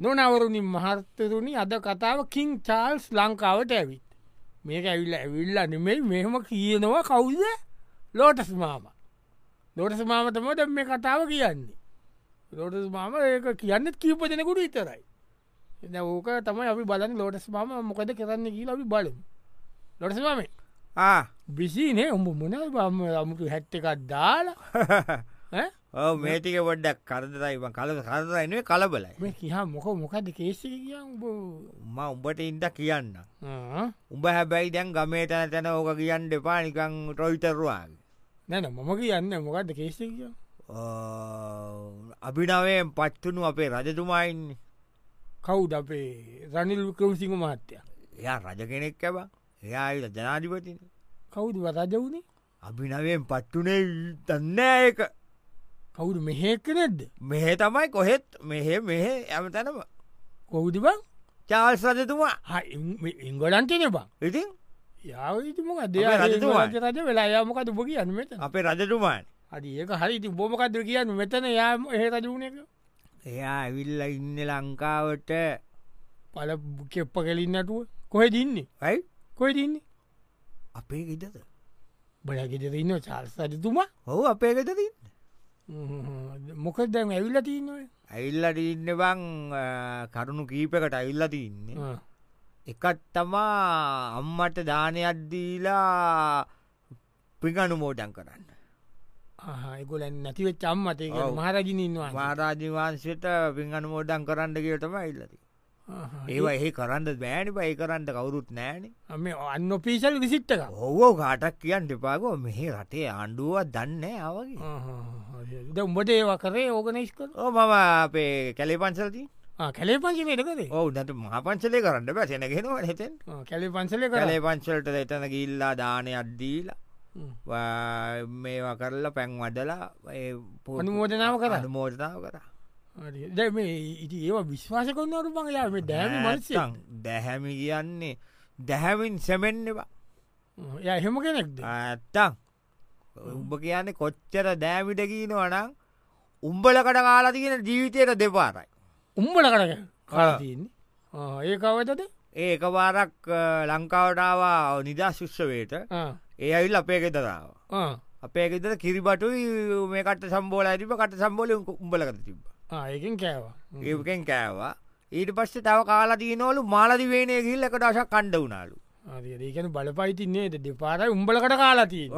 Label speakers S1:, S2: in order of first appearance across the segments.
S1: නොනවරුණින් මහත්තතුනි අද කතාව කින් චාල්ස් ලංකාවට ඇවිත් මේක ඇවිල්ල ඇවිල්ල නෙමෙයි මෙහම කියනවා කවුද ලෝටස් මාම ලෝටස් මාමතමට මේ කතාව කියන්නේ ලෝටස් මාම ඒක කියන්න කීප දෙනකුට විතරයි එ ඕක තමයි අපි බලන් ලෝටස් මාම මොකද කරන්න කියලා අපි බලමු ලොටස් මාමේ බිසිනේ උඹ මොන බම්ම අමුතු හැට් එකක් දාලා ඈ?
S2: ඔව මේටික පොඩ්ඩක් කරදරයිම කල කරදරයිනේ කලබලයි
S1: මේ කියා මොක මොකද කේසික කිය උඹ
S2: ම උඹට ඉන්ට කියන්න
S1: ආ.
S2: උඹ හැබැයි දැන් ගමේ තැන තැන ඕක කියන්න එපා නිකං ටොයිතරවාගේ
S1: නැන මොම කියන්න මොකක්ද කේසික කිය
S2: අභිනවයෙන් පත්වනු අපේ රජතුමයින්
S1: කවුද අපේ රනිල් වික්‍රමසිංහ මහත්තය
S2: එයා රජ කෙනෙක් ඇබ එයායිල ජනාධිපතින
S1: කවුද වරජ වුණේ
S2: අභිනවයෙන් පත්වනේ දන්නඒක
S1: කවුරු මෙහෙක් නෙද්ද
S2: මෙහෙ තමයි කොහෙත් මෙහෙ මෙහෙ ඇම තැනම
S1: කවුද බං
S2: චාල්ස් රජතුමා
S1: ඉංගලන්තන බං
S2: ඉතින්
S1: යාවිතුමක
S2: අපේ රජතුමා.
S1: දේ රජ වෙලා යාමකද බො කියන්න මෙත
S2: අපේ රජතුමාන්
S1: අද ඒක හරිති බොමකද කියන්න මෙතන යාම එහ රජුණ එක
S2: එයා ඇවිල්ල ඉන්න ලංකාවට
S1: පල කෙප්ප කෙලින්නටුව කොහෙ දින්නේ
S2: ඇයි
S1: කොයි දින්නේ
S2: අපේ ගෙතද
S1: බලගෙදර ඉන්න චාර්ස් රජතුමා
S2: ඔහු අපේ ගෙතදී
S1: මොක දැන් ඇවිල්ල තියන්නව
S2: ඇවිල්ලට ඉන්න බං අ, කරුණු කීපකට ඇවිල්ලට ඉන්නේ එකත් තමා අම්මට දානයක් දීලා පිගණු මෝටන් කරන්න
S1: ඒගොලන් නැතිව චම්මතේ
S2: ඔව්.
S1: මහරජින ඉන්නවා
S2: වාරාජිවන්සයට පින් අනුමෝඩන් කරන්න කියටම ඉල්ලති
S1: ආහා.
S2: ඒවා ඒ කරන්න බෑනි පයි කරන්න කවුරුත් නෑන
S1: අම අන්න පිසල් විසිට්ටක
S2: ඔවෝ කාටක් කියන්න එපාකෝ මෙහි රටේ ආණ්ඩුවත් දන්න ආවගේ
S1: ද උඹට ඒවා කරේ ඕගනයිස් කර
S2: ඕ මම අපේ කැලේ පන්සල්ති
S1: කැලේ පංචිලට කරේ
S2: ඔවු නට මහපන්සලේ කරන්න බෑ සෙනගෙනවා හෙතෙන්
S1: ආ, කැලේ පන්සල කර
S2: කලේ පංචලට එතන ගිල්ලා දානය අද්දීලා වා- මේවා කරලා පැන් වඩලා ඒ පො-
S1: අනුමෝදනාව කරා.
S2: අනුමෝදනාව කර
S1: දැ මේ ඉති ඒවා විශ්වාස කරන්නට පංයාම දැම මනසය
S2: දැහැමි කියන්නේ දැහැමින් සැමෙන්නවා
S1: ය එහෙම කෙනෙක්ද
S2: ඇත්තං උඹ කියන්නේ කොච්චර දෑමිටකීන වනම් උම්බලකට කාලා තියෙන ජීවිතයට දෙපාරයි
S1: උම්බල කරග කරතියන්නේ ඒ කවතද
S2: ඒක වාරක් ලංකාවටාවා නිදා ශුෂ්‍යවයට ඒ අයිල් අපේ ගෙතරාව අපේ ගෙතර කිරිබටුයි මේකට සම්බෝල ඇතිප කට සම්බෝල උම්බලකට තිබ
S1: ආයකින් කෑවා
S2: ඒකෙන් කෑවා ඊට පස්සේ තව කාලා තියනවලු මාලදි වේනය ගිල්ල එකට අශක් කණ්ඩ වුණාලු
S1: ඒකන බලපයිතින්නේද දෙපාරයි උම්බලකට කාලාතිී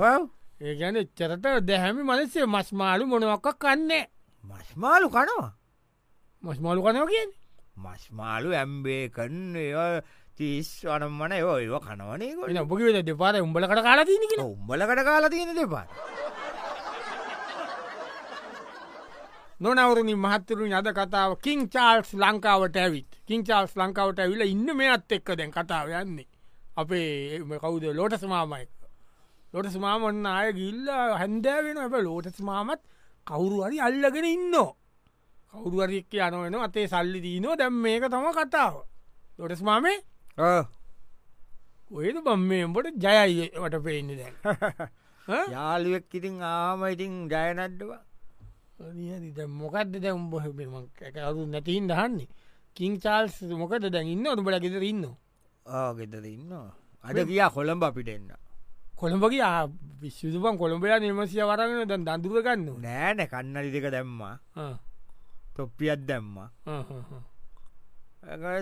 S1: ඒකන එච්චරට දැහැමි මනසේ මස්මාලු මොනවක්ක කන්නේ
S2: මස්මාලු කනවා
S1: මස්මාලු කනව කියන්නේ
S2: මස්මාලු ඇම්බේකන් ඒ තිස් වනම්මන ඒ ඒව කනවනයකො
S1: එන බොකිවෙද දෙපාර උඹලකට කාලාතිීනි කියෙන
S2: උම්බලකට කාලා තියෙන දෙපා
S1: නොනවරුණින් මහත්තරුන් අද කතාව කින් චාල්ස් ලංකාවට ඇවිත් කින් චාල්ස් ලංකාවට ඇවිල ඉන්න මේ අත් එක්ක දැන් කතාව යන්නේ අපේ එම කවුද ලෝට ස්මාමයක ලොට ස්මාමන්න අය ගිල්ල හැන්දෑ වෙන ඇ ලෝට ස්මාමත් කවුරුවරි අල්ලගෙන ඉන්න කවුරුවරික්ක යනවෙන අතේ සල්ලි දීනෝ දැම් මේක තම කතාව ලොට ස්මාමේ ඔයද බම් මේම්බට ජයයිට පේන්න දැන් ඈ?
S2: යාලුවෙක් ඉතින් ආම ඉතින් ජයනඩ්ඩවා
S1: නිහරි දැන් මොකක්ද දැ උඹහම කරු නැතින් දහන්නේ කින් චාල්ස් මොකද දැන් ඉන්න උඹල ගෙදර ඉන්න
S2: ගෙතර ඉන්න අද කියා කොළඹ අපිටෙන්න්න
S1: කොළඹගේ විශ්වතුපන් කොළඹයා නිර්මසිය වරගෙන දැන් දඳුරගන්න
S2: නෑන කන්නලි දෙක දැම්මා තොප්පියත් දැම්ම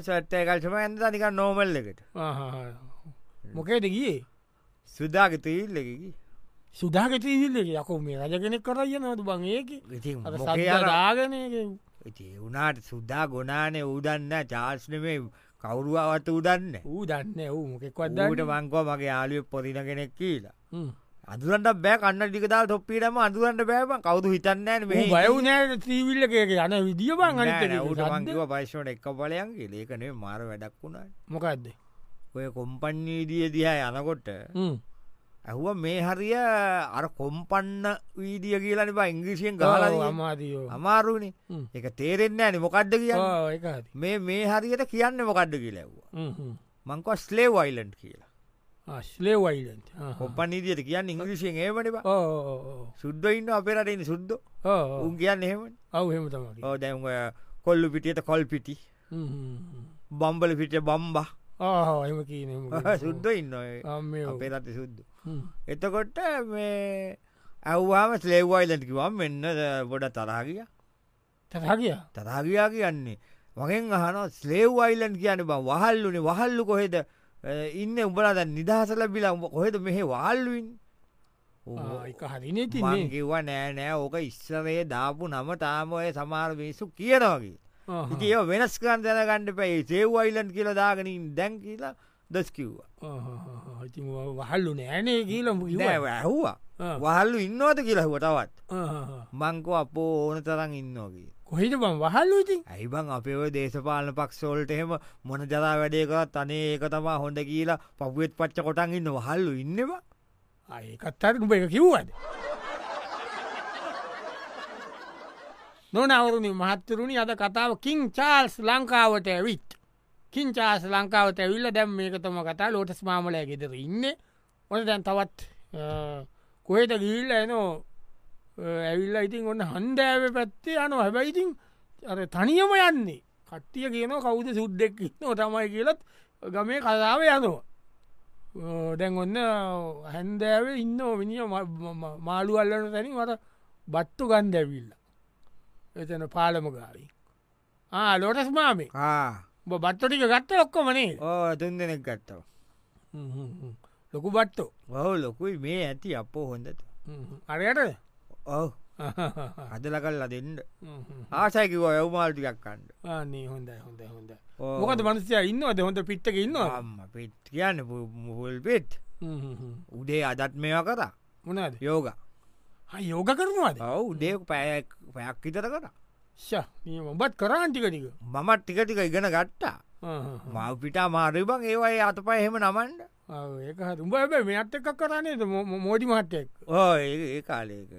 S2: සට්ටය කල්සම ඇඳ නික නෝමල් එකට
S1: මොකේද ගිය
S2: සුදාගතීල්ලකි
S1: සුදාගතීල්ලක යකෝ මේ රජ කෙනෙක් කර යනතු බං ඒක
S2: ඉති
S1: අ සදාගන
S2: ඉති වුණට සුද්දා ගොනානේ ඌදන්න චාර්ශ්නමේ කවුරුවාවට ඌදන්න
S1: ඌ දන්න ඌ මොකෙක්වත්
S2: ඌට මංකෝ මගේ යාලුව පොරින කෙනෙක් කියලා අදුරන්ට බෑ කන්න ටිකතා තොප්පිටම අදුරන්ට බෑම කවුතු හිතන්නන මේ
S1: බයවනෑ ත්‍රීවිල්ලක යන විදිිය බං
S2: ට
S1: අනට
S2: මංකිව පයිශෂට එක් පලයන්ගේ ලේකනේ මාර වැඩක් වුණා
S1: මොකක්ද
S2: ඔය කොම්පන්නීදිය දිහා යනකොට
S1: ම්.
S2: ඇහුව මේ හරිය අර කොම්පන්න වීදිය කියලනි බ ඉංග්‍රීසියෙන්
S1: ඔව්,
S2: ගාල
S1: අමාදියෝ
S2: අමාරුණේ
S1: හ්ම්.
S2: එක තේරෙන්න ඇන මොකක්ද කිය
S1: ඔව්, ඒක හරි.
S2: මේ මේ හරියට කියන්න මොකක්ද කියලැව්වා
S1: හ්ම්, හ්ම්.
S2: මංකව ස්ලේ වයිලන්් කියලා
S1: ආ, ස්ලේව් අයිලන්ඩ්. ආහා.
S2: කොම්පන්නීදියට කියන්න ඉංග්‍රීසියෙන් ඒමට
S1: ඔව්, ඔව්, ඔව්, ඔව්.
S2: සුද්ද ඉන්න අපේරටන්න සුද්ද Um,
S1: ඔව්, ඔව්.
S2: උන් කියන්න එහෙම
S1: ඔව්, එහෙම තමයි.
S2: ඕ දැන් ඔය කොල්ලු පිටියට කොල් පිටි
S1: Mm-hmm.
S2: බම්බල පිට බම්බා
S1: ආහෝ එම කියනම
S2: සුද්ද ඉන්න අපේ රට සුද්ද
S1: Hmm.
S2: එතකොට මේ ඇව්වාම ස්ලේව්වායිලටකිවම් මෙන්න ගොඩ තරාගිය
S1: තරගිය
S2: තරාගයා කියන්නේ මගෙන් අහන ස්ලේව් අයිලන් කියන බ වහල්ලුනේ වහල්ලු කොහෙද ඉන්න උඹලා දැන් නිදහසල බිලා උඹ කොහෙද මෙහෙ වහල්ලුවන්
S1: එක හරිනේ තින්නේ
S2: කිව්වා නෑ නෑ ඕක ඉස්සරයේ දාපු නම තාම ඔය සමාර මිනිස්සු කියනවාගේ ඉතින් ඒව වෙනස් කරන්න දැනගන්න පැයි සේව් අයිලන්ඩ් කියලා දාගනින් දැන් කියලා දස් කිව්වා
S1: ඉති වහල්ලු නෑනේ කියලම
S2: නෑ ඇහුවා
S1: Ah,
S2: වහල්ලු ඉන්නවද කියලා හුව තවත් මංකෝ අපෝ ඕන තරන් ඉන්නෝගේ
S1: කොහිට බං වහල්ලු ඉතින්
S2: ඇයිබං අපේ ඔය දේශපාලන පක්ෂෝල්ට එහෙම මොන ජරා වැඩේකත් අනේ ඒක තමා හොඳ කියලා පපුුවත් පච්ච කොටන් ඉන්න වහල්ලු ඉන්නවා
S1: ඒකත්තර උඹ එක කිව්වද නොනවරුණි මහත්තරුණි අද කතාව කින් චාල්ස් ලංකාවට ඇවිත් කින් චාස් ලංකාවට ඇවිල්ල දැම් මේක තම කතා ලෝටස් මාමලය ගෙදර ඉන්න ඕන දැන් තවත් eh, කොහෙට ගිල්ල එනෝ ඇවිල්ල ඉතින් ඔන්න හන්දෑව පැත්තේ යනු හැබැයිඉතින් අර තනියම යන්නේ කට්ටිය කියන කවුද සුද්දෙක් නෝ තමයි කියලත් ගමේ කතාව යනවා දැන් ඔන්න eh, හැන්දෑව ඉන්න මිනිිය මාළු අල්ලන තැනින් මට බට්ටු ගන්ද ඇවිල්ල එතන පාලම ගාවි ලෝටස් මාමේ බ බට්ටොටික ගත්ත ඔක්කොමනේ
S2: ඕ තුන් දෙනෙක් ගත්තව
S1: ලොකු බට්ටෝ
S2: බහු ලොකුයි මේ ඇති අපෝ හොඳට
S1: අරයට
S2: ඔව අදල කල්ලා දෙන්න ආසයකිව ඇවමාල්ටිකක් කණ්ඩ
S1: ආනේ හොඳයි හොඳ හොඳ මොකද මනසය ඉන්නවද හොඳ පිට්ටක ඉන්නවා
S2: අම්ම පිට් කියන්න මුහල් පෙට් උඩේ අදත් මේවා කතා
S1: මොනාද
S2: යෝග
S1: යෝග කරනවාද
S2: ඔව උඩේ පැය පැයක් හිතර කර
S1: ඔබත් කරාන්ටිකටික
S2: මමත් ටික ටික ඉගෙන ගට්ටා මව පිටා මාරයබං ඒවයි අත පය එහෙම නමන්ඩ
S1: ඒක උඹ හැබැයි මෙත් එකක් කරන්නේද මෝඩි මහට්ටෙක්
S2: ඕ ඒ කාලයක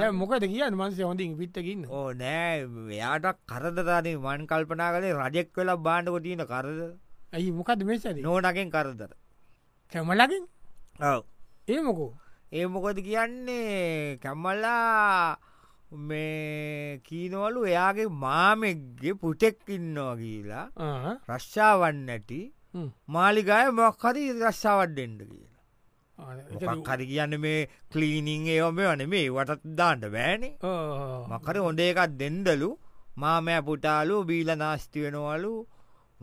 S1: දැන් මොකද කිය මන්සේ හොඳින් පිත්තකින්න
S2: ඕ නෑ එයාටක් කරදරනේ වන් කල්පනා කලේ රජෙක් වෙලා බාණ්ඩකො තියන කරද
S1: ඇයි මොකද මෙසද
S2: නෝනගෙන් කරදර
S1: කැමලකින්
S2: ඔව
S1: ඒ මොකෝ
S2: ඒ මොකද කියන්නේ කැම්මල්ලා මේ කීනවලු එයාගේ මාමෙක්ගේ පුටෙක් ඉන්නවා කියලා
S1: ආ.
S2: රශ්ෂාවන් නැටි
S1: හ්ම්.
S2: මාලිගාය මොක් හරි රශ්ෂාවත් ඩෙන්ඩ කියලා
S1: ආ, ඒ
S2: මොකක් හරි කියන්න මේ කලීනිං ඒම වන මේ වටත් දාන්ට බෑනේ
S1: ආ.
S2: මකර හොඳ එකත් දෙන්ඩලු මාමෑ පුටාලු බීල නාස්ති වෙනවලු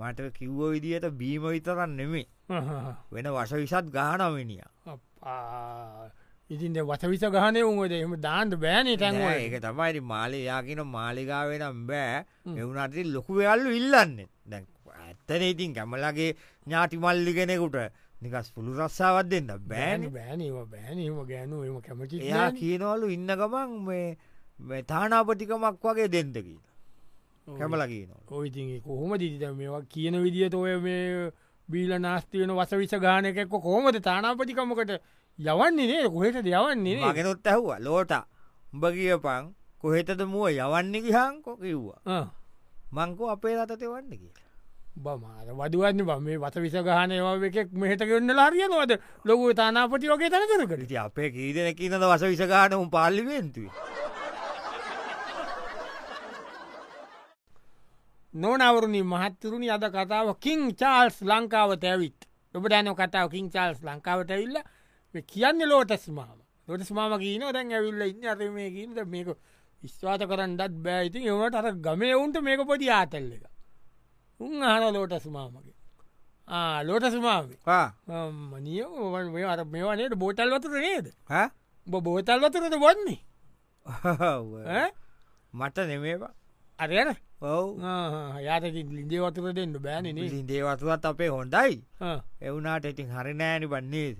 S2: මට කිව්ව විදිහට බීම විතරන්න නෙමේ
S1: ආහා.
S2: වෙන වශ විසත් ගානවෙනිය
S1: අප්පා. ඉතින් දැන් වසවිස ගහනය උන්වද එම දාන්ට බෑනේ තැන්ව
S2: ඒක තමයි මාලේ යාකින මාලිගාවෙනම් බෑ එවුනට ලොකු වෙල්ලු ඉල්ලන්න දැ ඇත්තන ඉතින් කැමලගේ ඥාටි මල්ලි කෙනෙකුට නිකස් පුළු රස්සාවත් දෙන්න බෑන
S1: බෑනීම බෑනීම ගෑනු එම කැමති
S2: එයා කියනවලු ඉන්න ගමන් මේ මේ තානාපටිකමක් වගේ දෙන්ට කියලා කැමල කියනවා
S1: ඔයිති කොහොම දිිත මේවා කියන විදිහට ඔය මේ බීල නාස්තියන වසවිස ගානකෙක්ක කොහොමද තානාපතිකමකට යවන්නේ නේ කොහෙට යවන්නේ නේ?
S2: මගෙනුත් ඇහවා ලෝට උඹ කියපං කොහෙතද මුව යවන්න ගිහංකෝ කිව්වා
S1: ආ.
S2: මංකෝ අපේ රතත වන්න කියලා
S1: බමාර වදුවන්න බ මේ වස විස ගහන ඒවා එකෙක් මෙහට ගන්න ලාරියනවද ලොකු තානාපති වගේ තැන කරකට
S2: ඉති අපේ කීදන කියනද වස විසගාන උම් පාලිවෙන්තුයි
S1: නොනවරුණි මහත්තරුණි අද කතාව කින් චාල්ස් ලංකාවට ඇවිත් ඔබටන කතාව කින් චාල්ස් ලංකාවට ඇවිල්ල මේ කියන්න ලෝටස් මාම ලොටස් මාම කියන දැන් ඇවිල්ල ඉන්න අර මේ කියීන්ද මේක විස්වාත කරන්නත් බෑයිති ඒවට අර ගමේ ඔවුන්ට මේක පොඩි ආතල්ල එක උන් අහන ලෝටස් මාමගේ ලෝටස් මාමේ මනිය ඔය අර මේවනයට බෝටල් වතුර නේද උඹ බෝතල් වතුරද වන්නේ ඈ?
S2: මට නෙමේවා
S1: අරයන
S2: ඔව්
S1: යාත ලිදේ වතුර දෙන්න බෑනනේ
S2: දේවතුවත් අපේ හොඳයි එවුනාට ඉතින් හරි නෑනි බන්නේද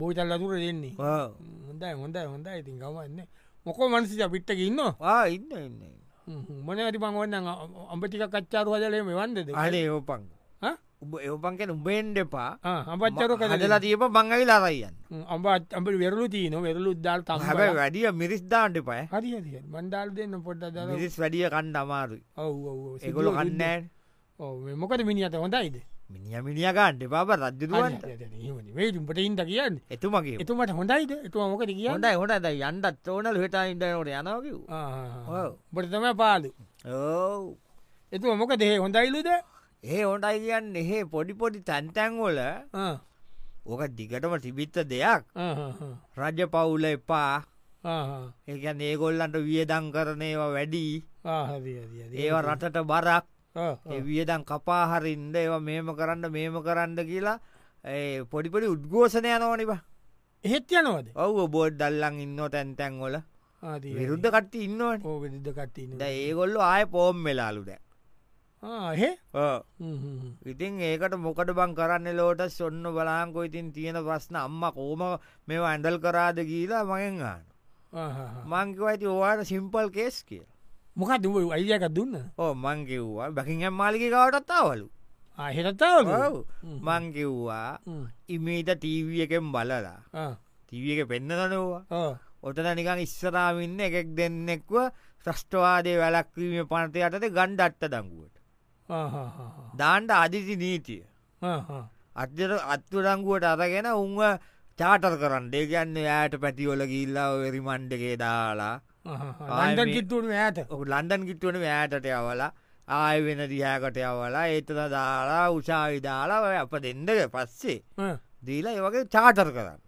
S1: බෝතල් වතුර දෙන්නේ හොඳයි හොඳයි හොඳයි ඉතින් ගමන්න මොකෝ මනසිච පිට්ටක ඉන්න
S2: වා ඉන්න ඉන්න
S1: මොන ඇති පංවන්න අම්පටික කච්චාරු හදලේ මේ වන්දද
S2: අනේ ඒෝපං උබ ඒෝපන් කෙන උබේන්ඩ එපා
S1: අම්පච්චරු කදලා
S2: කදලා තියප බංගවි ලාරයියන්න
S1: අම්බ අම්පි වෙරලු තියන වෙරලු උද්දාල් තම
S2: හැබැ වැඩිය මිරිස්දාන්ට පය
S1: හරි හරි මන්ඩාල් දෙන්න පොඩ්ඩ දල
S2: මිරිස් වැඩිය කණ්ඩ අමාරුයි එකොල කන්නෑ
S1: මොකද මිනිියත හොඳයිද
S2: මිනිිය මිනිිය ගණ්ඩ පාප රජ්ජතුවන්ට
S1: වේටුම්පට ඉන්ට කියන්න
S2: එතුමගේ
S1: එතුමට හොඳයිද එතුම මොකද කියන්න
S2: හොඳයි හොට ඇද යන්ඩත් ඕනල් හට ඉන්ඩනට යනකිව
S1: ආ.
S2: ඔව්.
S1: බට තම පාලු
S2: ඕ
S1: එතු මොක දෙේ හොඳයිලුද
S2: ඒ හොටයි කියන්න එහෙ පොඩිපොඩි තැන්තැන්වොල ඕක දිගටම තිබිත්ත දෙයක් රජ පවුල එපා ඒකන් ඒගොල්ලන්ට වියදං කරනේවා වැඩි ඒවා රටට බරක් ඒ වියදං කපාහරින්ද ඒවා මේම කරන්න මේම කරන්න කියලා ඒ පොඩිපොඩි උද්ගෝෂණය යනවනිබා
S1: එහෙත් යනවද
S2: ඔව බෝඩ් දල්ලන් ඉන්න තැන්තැන්වොල විරුද්ධ කට්ටි ඉන්නවන
S1: ඕවිද කට්ටන්න
S2: ද ඒගොල්ලු ආය පෝම් වෙලාලුද
S1: හෙ
S2: ඉතින් ඒකට මොකට බං කරන්න ලෝට සොන්න බලාංකෝ ඉතින් තියෙන ප්‍රශ්න අම්ම කෝම මෙ ඇඩල් කරාද කියලා මගෙන් ආන මංකිව ඇති ඕවාට සිම්පල් කේස් කිය
S1: මොක දුව අයියක දුන්න
S2: ඕ මංකිව්වා බැකිහම් මාලිකාවටත්තාවලු
S1: හෙරතාව
S2: මංකිව්වා ඉමීට ටීවිය එකෙන් බලලා ටීවිය එක පෙන්න්නනවා ඔතන නිකං ඉස්සරාමින්න එකෙක් දෙන්නෙක්ව ශ්‍රෂ්ටවාදය වැලක්වීම පනතය අතට ගණ්ඩට්ට දංගුවට. දාන්ට අධිසි නීතිය. අත්්‍යර අත්තුරංගුවට අරගෙන උන්ව චාටර් කරන්න ඒගන්න ෑයට පැටිවොල ගිල්ලා වෙරිමණ්ඩගේ දාලා
S1: ආන්ඩන් කිිත්තුුණු ඇත
S2: ඔක ලන්ඩන් කිට්ටුවන ෑයටට අවලා ආය වෙන දිහාකට අවලා ඒතන දාලා උසාවි දාලා ඔය අප දෙන්නක පස්සේ දීලා ඒ වගේ චාටර් කරන්න.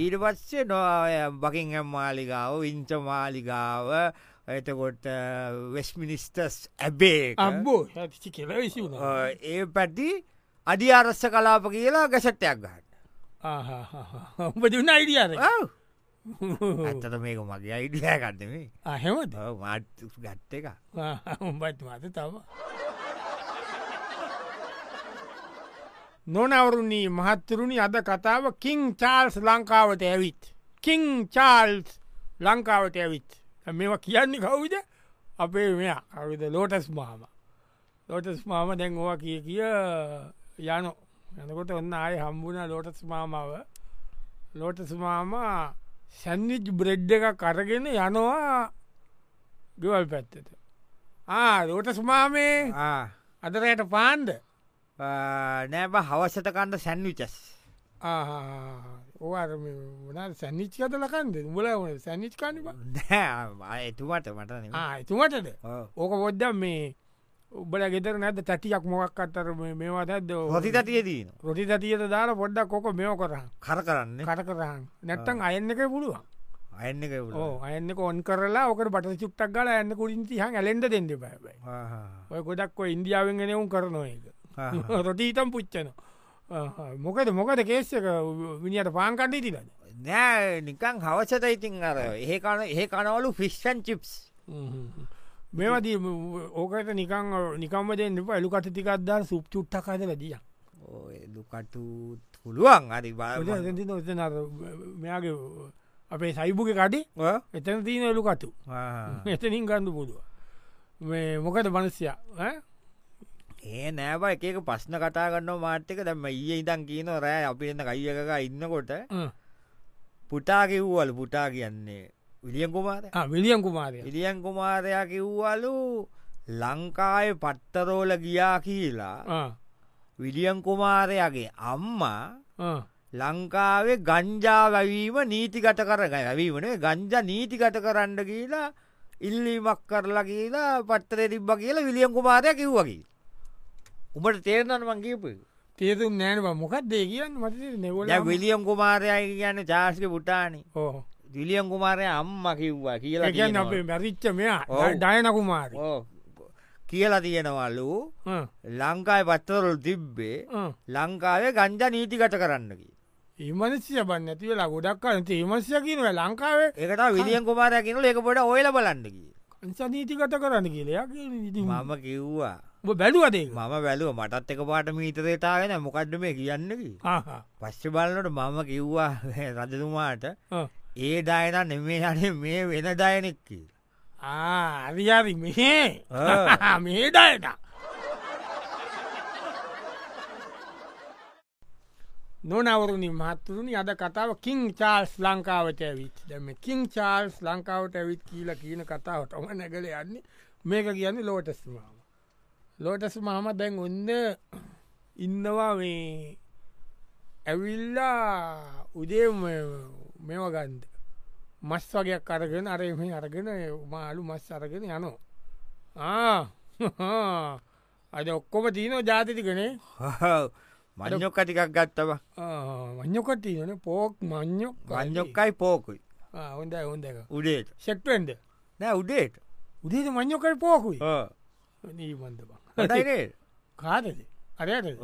S2: ඊට පස්සේ නොය බකිංහම් මාලිගාව විංච මාලිගාව එතකොට වෙස්මිනිස්ටස් ඇබේ
S1: අම්බෝ හැි කෙල විසි
S2: ඒ පැටි අධි අරස්ස කලාප කියලා ගැසට්ටයක් ගන්න
S1: උඹ දුන්න අයිඩියන
S2: ඇතට මේක මගේ අයිඩිය ගන්නමේ
S1: අහෙමද
S2: මාත් ගත්ත එක
S1: උඹත් මත තම නොනවරුණී මහත්තරුණි අද කතාව කින් චාල්ස් ලංකාවට ඇවිත්. කින් චාල්ස් ලංකාවට ඇවිත් මෙම කියන්නේ කවුද අපේ මෙයා අවිද ලෝටස් මාම ලෝටස් මාම දැන් ඕවා කිය කිය යනු යනකොට ඔන්න ආය හම්බුණ ලෝටස් මාමාව ලෝටස් මාමා සැන්විච් බ්‍රෙඩ් එක කරගෙන යනවා ගවල් පැත්තට ආ ලෝටස් මාමේ අදරයට පාන්ද
S2: නෑබ හවසට කණ්ඩ සැන්විචස්
S1: ඕර වන සැනිච් අත ලකන්ද උඹල සැනිච් කනිබ
S2: එතුමට මටන
S1: එතුමටද ඕක පොද්ද මේ උබල ගෙතර නැද තැටියක් මොකක් අත්තර මේවා දැද
S2: හොති තතියදී
S1: රොටි තතියට දාලා පොඩ්ඩක් කොක මෙෝ කරහ
S2: කර කරන්න
S1: කට කරහන් නැත්තන් අයන්න එක පුළුවන්
S2: අයන්න එක
S1: ඕ අයන්න කොන් කරලා ඕක බට චුක්්ටක් ගල ඇන්න කුරින්චි හන් ඇලෙන්ඩ දෙන්න බැබයි ඔය ගොඩක් ඉන්දියාවෙන් ගෙනවුම් කරනවා එක රොටීතම් පුච්චන මොකද මොකද කේස්සක විනිට පාන්කණ්ඩී තිලද
S2: නෑ නිකං හවසට ඉතින් අර ඒකන ඒ කනවලු ෆිස්ෂන් චිප්ස්
S1: මේවදී ඕකට නිකං නිකම දෙන්න එලුකට තිකක්දා සුප් චුට්ටකාද ලදිය
S2: දුකටු පුළුවන් අරි බා
S1: මෙයාගේ අපේ සයිබුක කඩි එතන තියන එලුකටු එතනින් ගන්ඩු පුදුව මේ මොකද මනස්යා
S2: ඒ නෑබ එකක පස්්න කතා කරන්න මාර්ථක දැම ඒ ඉදන් කියන රෑ අපින්න කයියකක ඉන්නකොට පුටා කිව්වල පුටා කියන්නේ විලියන් කුමාර
S1: විලියන් කුමාරය
S2: විලියන් කුමාරයා කිව්වලු ලංකාය පට්ටරෝල ගියා කියලා විලියන් කුමාරයාගේ අම්මා ලංකාවේ ගංජා වැවීම නීතිගට කරග ඇවීමන ගංජ නීතිගට කරන්න කියලා ඉල්ලීමක් කරලා කියලා පත්තරේ තිබ්බ කියලා විලියන් කුමාරය කිව්වගේ උඹට තේරනන් වංගේපු
S1: තේරුම් නෑනවා මොකක්ද කියන්න මත නෙවල
S2: විලියම් කුමාරයයි කියන්න චාස්ක පුටානේ
S1: ඕ
S2: විලියම් කුමාරය අම්ම කිව්වා කියලා
S1: කියන්න
S2: කියනවා.
S1: අපේ මැරිච්ච මෙයා
S2: ඔව්.
S1: ඩයනකුමාරි
S2: ඕ. කියලා තියෙනවලු ලංකායි පත්තරල් තිබ්බේ ලංකාවේ ගංජා නීතිගට කරන්නකි
S1: ඉමනසිය බන්න ඇතිවෙලා ගොඩක් අනති ඉමසිය කියනව ලංකාවේ
S2: එකට විලියම් කුමාරය කියනල එක පොඩ ඔයල බලන්නකි
S1: සනීතිගත කරන්න කියලයා
S2: මම කිව්වා
S1: බැලුවදේ
S2: මම වැලුව මටත් එක පාට මීතරේතාගෙන මොකක්ඩ මේ කියන්නකි පස්්‍ය බලන්නට මම කිව්වා රජතුමාට ඒ දායන නෙමේ අනේ මේ වෙන දායනෙක් කියලා.
S1: අරියාරි මෙහේ මේඩයට නොනවරුණි මහත්තුරුණි අද කතාව කින් චාල්ස් ලංකාවට ඇවිත් දැම කින් චාල්ස් ලංකාවට ඇවිත් කියීල කියන කතාවටම නැගල යන්නේ මේක කියන්නේ ලෝටස් මාම ලෝටස් මාම දැන් ඔන්න ඉන්නවා මේ ඇවිල්ලා උදේ මෙව ගන්ද මස් වගේයක් අරගෙන අරම අරගෙන මාලු මස් අරගෙන යනවා අද ඔක්කොම තියනෝ ජාතිතිකනේ
S2: මං්ඥොක් කටිකක් ගත්තව
S1: මං්ඥොකට තියන පෝක් මං්ඥොක්
S2: ගං්ඥොක්කයි පෝකුයි
S1: හොඳ හොඳ
S2: උඩේට
S1: සෙක්ටෙන්ඩ
S2: නෑ උඩේට
S1: උදේද මං්ඥොකට පෝකුයි නීබන්ද බං කාදද අරයට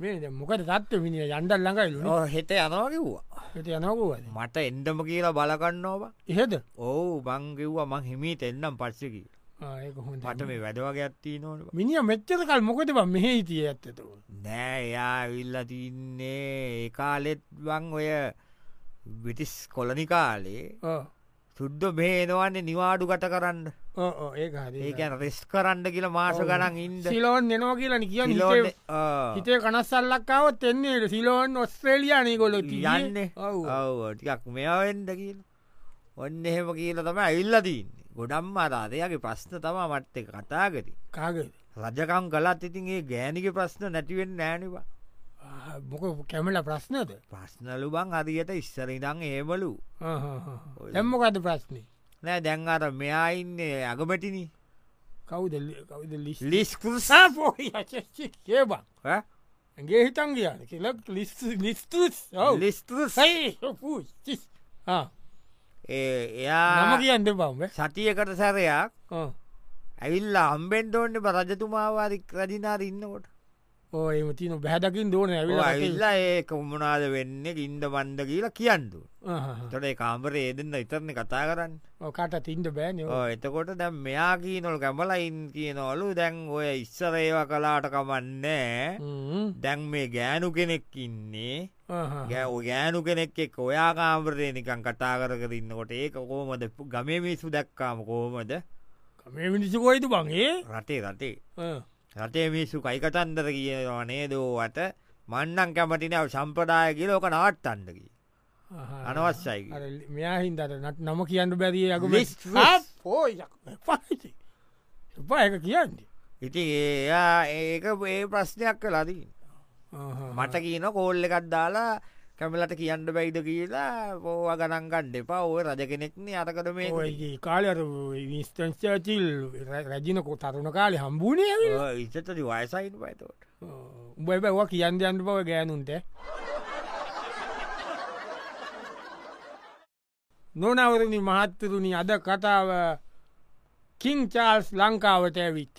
S1: මේ මොකට තත්ව මිනි යන්ඩල් ළඟයිලු
S2: හෙත යනවාකිව්වා
S1: ට යනකුවද
S2: මට එන්දම කියලා බලකන්නෝව
S1: එහෙද
S2: ඕ බංගෙව්වා මං හිමීට එන්නම් පස්සකි
S1: ආයකොහොඳ
S2: මට මේ වැඩවගේ ඇත්තිී නොට
S1: මිනිිය මෙච්චර කල් මොකද බ මෙහෙ හිතිය ඇත්තතු
S2: නෑ එයා විල්ල තින්නේ ඒකාලෙත් වං ඔය බිටිස් කොලනි කාලේ සුද්ද මේනවන්නේ නිවාඩු ගත කරන්න
S1: ඒ
S2: ඒකැන රෙස් කරන්න කියලා මාස ගනන් ඉන්ද
S1: සිලෝන් එනවා කියලන කිය
S2: සිලෝන- ආ.
S1: හිතේ කනස්සල්ලක්කාවත් එන්නේ සිලෝන් ඔස්ට්‍රේලියනකොල
S2: යන්න ඔව් ටිකක් මෙවෙන්ද කියල ඔන්න එහෙම කියල තම ඇල්ලදීන්න ගොඩම් අරා දෙයගේ ප්‍රශ්න තමා මට්ත කතාගති
S1: කාගද
S2: රජකම් කලත් ඉතින් ඒ ගෑනික ප්‍රශ්න නැතිවෙන් නෑනවා
S1: මොක කැමල ප්‍රශ්නද
S2: ප්‍රශ්නලු බං අරියට ඉස්සරිදං ඒමලු
S1: එම්මකද ප්‍රශ්නය
S2: නෑ දැන් අර මෙයා ඉන්නේ අගමැටිනි
S1: කවුද ලි- කවුද ලිස්
S2: ලිස්කසා
S1: සාපෝහි කියබන් ඇගේ හිතන් ගියන කියලක් ලිස් ලිස්තුස්
S2: ලිස්තුස
S1: සයි නම
S2: එයා
S1: කියන්න බව
S2: සතියකට සැරයක් ඇවිල්ලා අම්බෙන්ටෝන්න රජතුමාවාරික් රජිනාර ඉන්නකොට
S1: ඕයම තින බැහැදකින් දෝන ඇවිල්ල
S2: ඇවිල්ලා ඒ කොමනාද වෙන්න ඉින්ද බන්ද කියලා කියන්දු තොට කාමර ඒදන්න ඉතරණ කතා කරන්න
S1: කට තින්ට බෑන
S2: ඔව් එතකොට දැම් මෙයා කී නොල් කැඹලයින් කියනවලු දැන් ඔය ඉස්සරේව කලාට කමන්නේ දැන් මේ ගෑනු කෙනෙක් ඉන්නේ ගැ ගෑනු කෙනෙක් එක් ඔයා කාමරය නිකන් කතා කරකර ඉන්නකොට ඒ කෝමද ගමේ මිසු දැක්කාම කෝමද
S1: මේ මිනිසි කොයිතු බංගේ
S2: රටේ රටේ රටේ මිස්සු කයිකතන්දර කියනවනේ දෝවට මන්නන් කැමටිනාව සම්ප්‍රදාය කියලෝක නාට්ටන්නකි අනවශ්‍යයි
S1: මෙයාහින්දට නට නම කියන්න බැරිය යක
S2: Mistress.
S1: පෝයි එපායක කියන්නේ
S2: ඉති ඒයා ඒක ඒ ප්‍රශ්නයක් කලාදී මට කියන කෝල්ල එකත් දාලා කැමලට කියන්න බැයිද කියලා පෝව ගණන්ගන්න එපා ඕය රජ කෙනෙක්න අතකට මේ
S1: ඔයගේ කාලර විස්ටන්චචිල් රැජිනකෝ තරුණ කාලෙ හම්බුණේ ඇවිල්ලා.
S2: ඉතතති වයසයින් පයිතෝට
S1: උඹයි බැවා කියන් යන්න බව ගෑනුන්ට නොනවරණි මහත්තරුණි අද කතාව කින් චාල්ස් ලංකාවට ඇවිත්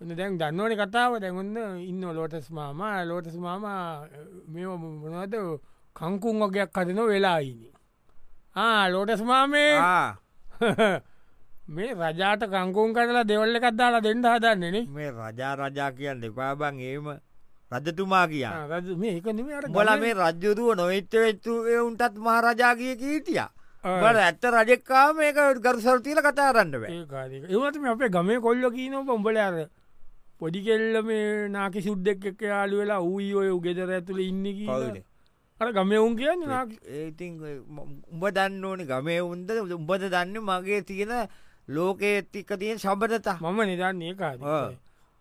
S1: ඔන්න දැන් දන්නවන කතාව දැගන්න ඉන්න ලෝටස් මාම ලෝටස් මාම මෙ මොනවද කංකුන් වගයක් කටන වෙලායිනි ලෝටස් මාමේ මේ රජාට කංකුන් කරලා දෙවල්ල එකත් දාලා දෙන්න හදන්නේනේ
S2: මේ රජා රජා කියන්න එපාබං ඒම රජතුමා කියා
S1: රජ මේක නෙමේ අර
S2: බොල
S1: ගමේ-
S2: මේ රජ්ජුරුව නොවිච්ච වෙච්චු එවුන්ටත් මහරජාගිය කීටිය
S1: ආ.
S2: බල ඇත්ත රජෙක්කා මේක ගරුසල්තිීල කතාරන්න බෑ
S1: ඒවටම අපේ ගමේ කොල්ල කියනෝ පොම්බල අර පොඩි කෙල්ල මේ නාක සුද්දෙක් එක යාලු වෙලා ඌයි ඔය උගෙදර ඇතුළ ඉන්න
S2: කවුද?
S1: කියලා. අර ගමවුන් කියන්න නාකි
S2: ඒතින් උඹ දන්න ඕනි ගමේ උන්ද උඹද දන්න මගේ තියෙන ලෝකයේ එත්තික තියෙන සබටතා
S1: මම නිදන්නේ කාද
S2: ආ.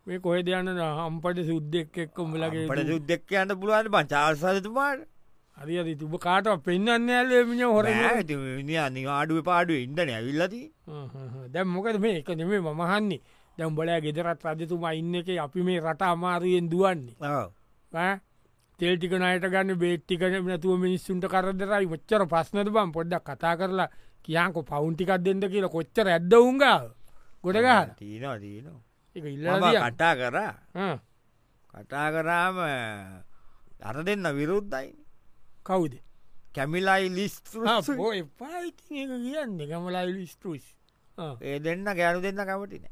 S1: මේ කොහෙ දෙයන්න හම්පට සුද්දෙක් එක්කොම්බලගේ
S2: පට යුද්ධක් යන්න පුළුවන් පචාසතතුමාට
S1: හරි අරි තුබ කාටව පෙන්න්න ඇල්ලමිය හොර
S2: ඇති අනි ආඩුව පාඩුව ඉන්දන ඇවිල්ලති
S1: දැම් මොකද මේ එක නෙමේ මමහන්නේ දැම් බොලෑ ගෙදරත් රජතුමා ඉන්න එක අපි මේ රට අමාරුවෙන් දුවන්නේ ඈ? තෙල් ටික නයට ගන්න බේට්ටිකන නැතුව මිනිස්සුන්ට කරදරයි ොච්චර ප්‍රශ්නද බම් පොඩ්ඩක් කතා කරලා කියන්කො පවුන්ටිකක් දෙන්න කියලා කොච්චර ඇද්ද උන්ගාව ගොඩගහ
S2: තිීන දීනවා
S1: එක
S2: මම
S1: ඉල්ලා
S2: කටා කරා කටා කරාම අර දෙන්න විරුද්ධයි
S1: කවුද
S2: කැමිලයි ලිස්
S1: පෝයි පායිති කියන්න ගමලයිලි ස්තුස්
S2: ඒ දෙන්න ගැනු දෙන්න කැමටින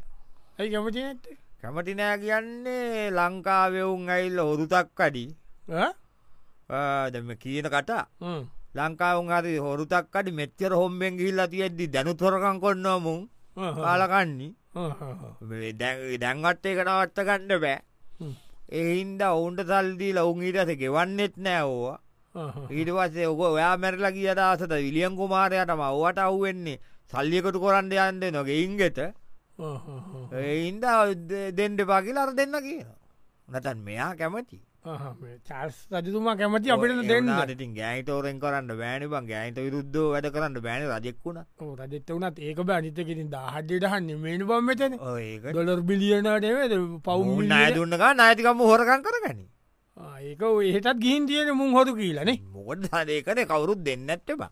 S1: ඇයි කැමති නැත්ත
S2: කැමටිනෑ කියන්නේ ලංකාවවුන් ඇල්ල හොරුතක් අඩි දම කියන කටා ලංකාවන් අරි හොරුතක් අඩි මෙච්චර හොම්බෙන් ගිල්ල තියෙද්දි දැනුතොරකං කොන්නමුන් කාලකන්නේ මේ දැන්- දැන්වත් ඒ කටවත්ත ගන්න බෑ එහින්ද ඔවුන්ට සල්දී ලවුන් ඊටස ගෙවන්නෙත් නෑෝවා ඊටවස්සේ ඔක ඔයා මැරලා කිය දසත විලියන් කුමාරයටම ඔවට අව්වෙන්නේ සල්ලියකටු කොරන්ඩ යන්ද නොගෙයින්ගෙත එයින්ද දෙන්ඩ පාකිල අර දෙන්න කියන නතන් මෙයා කැමති
S1: චාර්ස් රජතුමා කැමති අපිට දෙන්න
S2: ඉතින් ගෑතෝරෙන් කරන්න බෑනි බං ගෑත විරුද්ධ වැඩ කරන්න බෑන රජෙක් වුණ
S1: රජෙත්ත වනත් ඒක බනිතකින් දහටට හන්න මේන පම්මතන
S2: ඒක
S1: ඩොලර් බිලියනටේද පවුම්
S2: පවුන් අයදුන්නකා නායතිකම්ම හොරකන් කරගනි
S1: ඒක ඒටත් ගිහින් තියෙන මුං හොතු කියලනේ
S2: මොඩ හදේකන කවුරුත් දෙන්නත්තබා